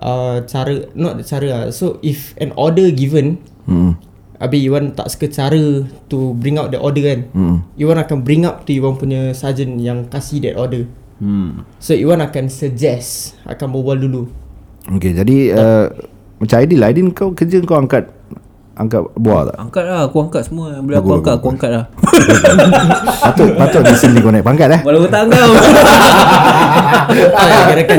S3: uh, cara not the cara lah. So if an order given,
S2: hmm.
S3: abi Iwan tak suka cara to bring out the order kan.
S2: Hmm.
S3: Iwan akan bring up to Iwan punya sergeant yang kasih that order.
S1: Hmm.
S3: So Iwan akan suggest Akan berbual dulu
S2: Okay jadi uh, Macam Aidil Aidil kau kerja kau angkat Angkat buah tak?
S1: Angkat lah Aku angkat semua Yang Boleh aku
S2: Bagus,
S1: angkat
S2: bagus,
S1: Aku angkat lah
S2: Patut Patut recently kau naik pangkat eh
S1: Walau tak kau
S3: Tak payah kirakan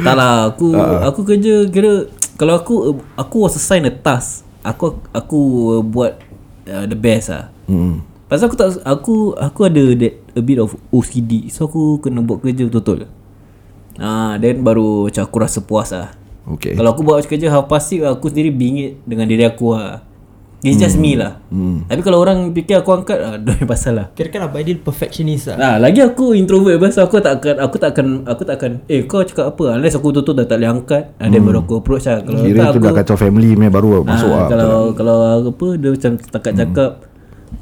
S1: Tak lah Aku Aku kerja Kira Kalau aku Aku was assigned a task Aku Aku uh, buat uh, The best lah
S2: hmm.
S1: Pasal aku tak Aku Aku ada that, A bit of OCD So aku kena buat kerja betul-betul Ah, Then baru Macam aku rasa puas lah
S2: Okay
S1: Kalau aku buat kerja half past six Aku sendiri bingit Dengan diri aku lah It's just me lah Tapi kalau orang fikir aku angkat ah, [laughs] Don't ada pasal lah
S3: Kirakan Abang Aidil perfectionist lah
S1: Nah, lagi aku introvert pasal aku tak akan aku tak akan aku tak akan eh kau cakap apa unless aku tutup dah tak boleh angkat ada baru aku approach lah kalau
S2: Hmm. Kira
S1: tak
S2: tu
S1: aku
S2: dah kacau family punya baru
S1: ah,
S2: masuk lah Hmm.
S1: kalau kalau apa dia macam setakat cakap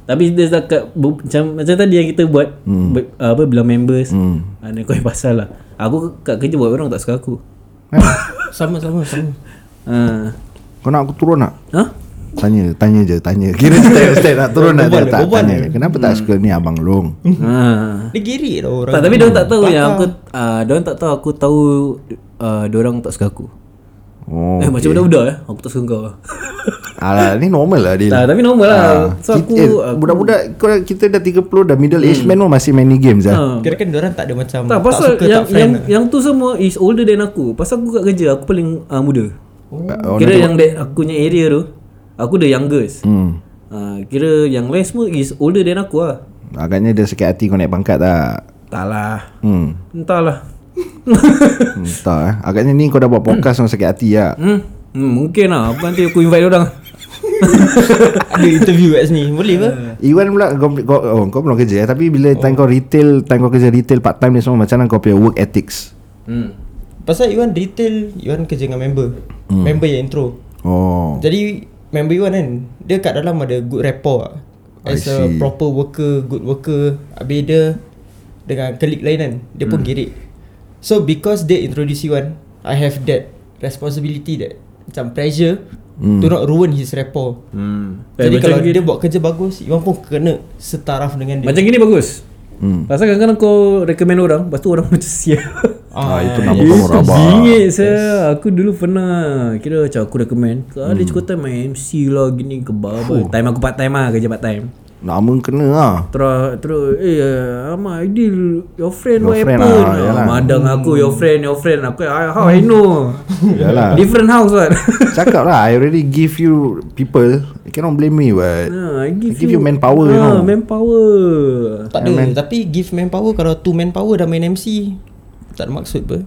S1: tapi dia setakat bu- macam macam tadi yang kita buat
S2: Hmm.
S1: ber, apa bilang members hmm. ah, kau yang pasal lah aku kat kerja buat orang tak suka aku
S3: Sama-sama sama.
S1: ah
S2: Kau nak aku turun tak?
S1: huh?
S2: Tanya Tanya je Tanya [laughs] Kira step, step nak turun tak, tak, tak Tanya Kenapa tak suka ni Abang Long
S1: ah
S3: Dia girik lah orang
S1: Tak tapi dia tak tahu yang aku ah dia tak tahu aku tahu ah dia orang tak suka aku.
S2: Oh
S1: eh macam budak-budak eh aku tak suka kau. [laughs]
S2: Alah ni normal lah dia
S1: Nah, tapi normal lah. So
S2: Kita-
S1: aku
S2: eh,
S1: aku-
S2: Budak-budak kau- Kita dah 30 Dah middle age man pun Masih main ni games lah
S1: ah.
S3: Kirakan dia orang tak ada macam
S1: tak
S3: Tak,
S1: pasal
S3: suka
S1: yang
S3: tak friend
S1: yang
S3: lah.
S1: yang tu semua is older than aku. Pasal aku kat kerja aku paling ah, muda.
S2: Oh,
S1: kira yang that aku punya area tu aku the youngest.
S2: Hmm.
S1: Ah, kira yang lain semua is older than aku lah.
S2: Agaknya dia sakit hati Kau naik pangkat tak
S1: Tak lah.
S2: Hmm
S1: Entahlah. [laughs]
S2: [laughs] Entah eh Agaknya ni kau dah buat podcast Kau sakit hati lah
S1: Hmm, hmm mungkin lah. Apa nanti aku invite orang.
S3: Ada interview kat sini
S1: [laughs] Eh.
S3: Boleh ke?
S2: Iwan pula kau, kau, oh, kau belum kerja eh Tapi bila oh. time kau retail Time kau kerja retail part time ni semua Macam mana kau punya work ethics
S1: Hmm.
S3: Pasal Iwan retail Iwan kerja dengan member
S2: Hmm.
S3: Member yang intro
S2: Oh
S3: Jadi member Iwan kan Dia kat dalam ada good rapport lah. As
S2: I
S3: a
S2: see.
S3: proper worker Good worker Habis dia Dengan colleague lain kan Dia
S2: Hmm.
S3: pun girik So because they introduce Iwan I have that Responsibility that Macam pressure
S2: Hmm.
S3: To not ruin his rapport
S1: Hmm. Eh, macam
S3: Jadi kalau
S1: gini-
S3: dia buat kerja bagus Iwan pun kena Setaraf dengan dia
S1: Macam gini bagus hmm. Pasal kadang-kadang kau recommend orang Lepas tu orang [laughs] macam siap
S2: Ah, itu
S3: ya.
S2: nama kamu rabak
S1: Bingit saya Aku dulu pernah Kira macam aku recommend Kau
S2: Hmm.
S1: ada cukup time main MC lah Gini ke bawah Time aku part time lah Kerja part time
S2: Nama kena lah
S1: Terus Terus Eh Ahmad Aidil Your friend Your
S2: Your
S1: friend
S2: friend
S1: happen?
S2: lah,
S1: Ah,
S2: yalah.
S1: Madang aku Your friend Your friend Aku I- How I
S2: [laughs]
S1: know
S2: Yalah.
S1: Different house kan
S2: [laughs] Cakap lah I already give you people You cannot blame me but
S1: Ah, I
S2: I give you manpower, you
S1: Ah,
S2: know.
S1: Manpower
S3: Tak ada Tapi give manpower Kalau two manpower Dah main MC Tak ada maksud apa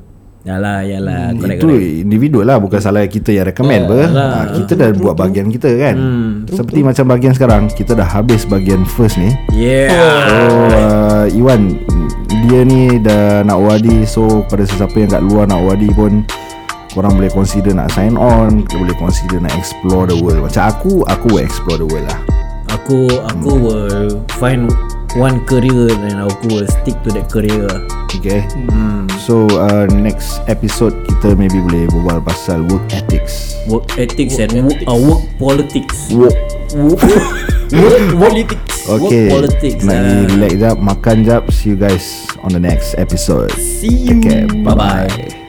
S1: Yalah Yalah Correct
S2: Hmm,
S1: Oh,
S2: Itu individu lah Bukan salah kita yang recommend ber. ha, Kita dah buat bahagian kita kan
S1: Hmm.
S2: Seperti macam bahagian sekarang Kita dah habis bahagian first ni
S1: Yeah
S2: So uh, Iwan Dia ni dah nak wadi So pada sesiapa yang kat luar nak wadi pun Korang boleh consider nak sign on Boleh consider nak explore the world Macam aku Aku will explore the world lah
S1: Aku aku
S2: Hmm.
S1: will find one career and aku will stick to that career. lah.
S2: Okay So uh, next episode Kita maybe boleh berbual pasal work ethics
S1: Work ethics and work, uh, work politics.
S2: Work
S1: Work, [laughs] work, politics.
S2: Okay
S1: Work politics.
S2: Nak
S1: ah.
S2: relax jap Makan jap See you guys on the next episode
S3: See you
S2: Take care
S1: Bye bye.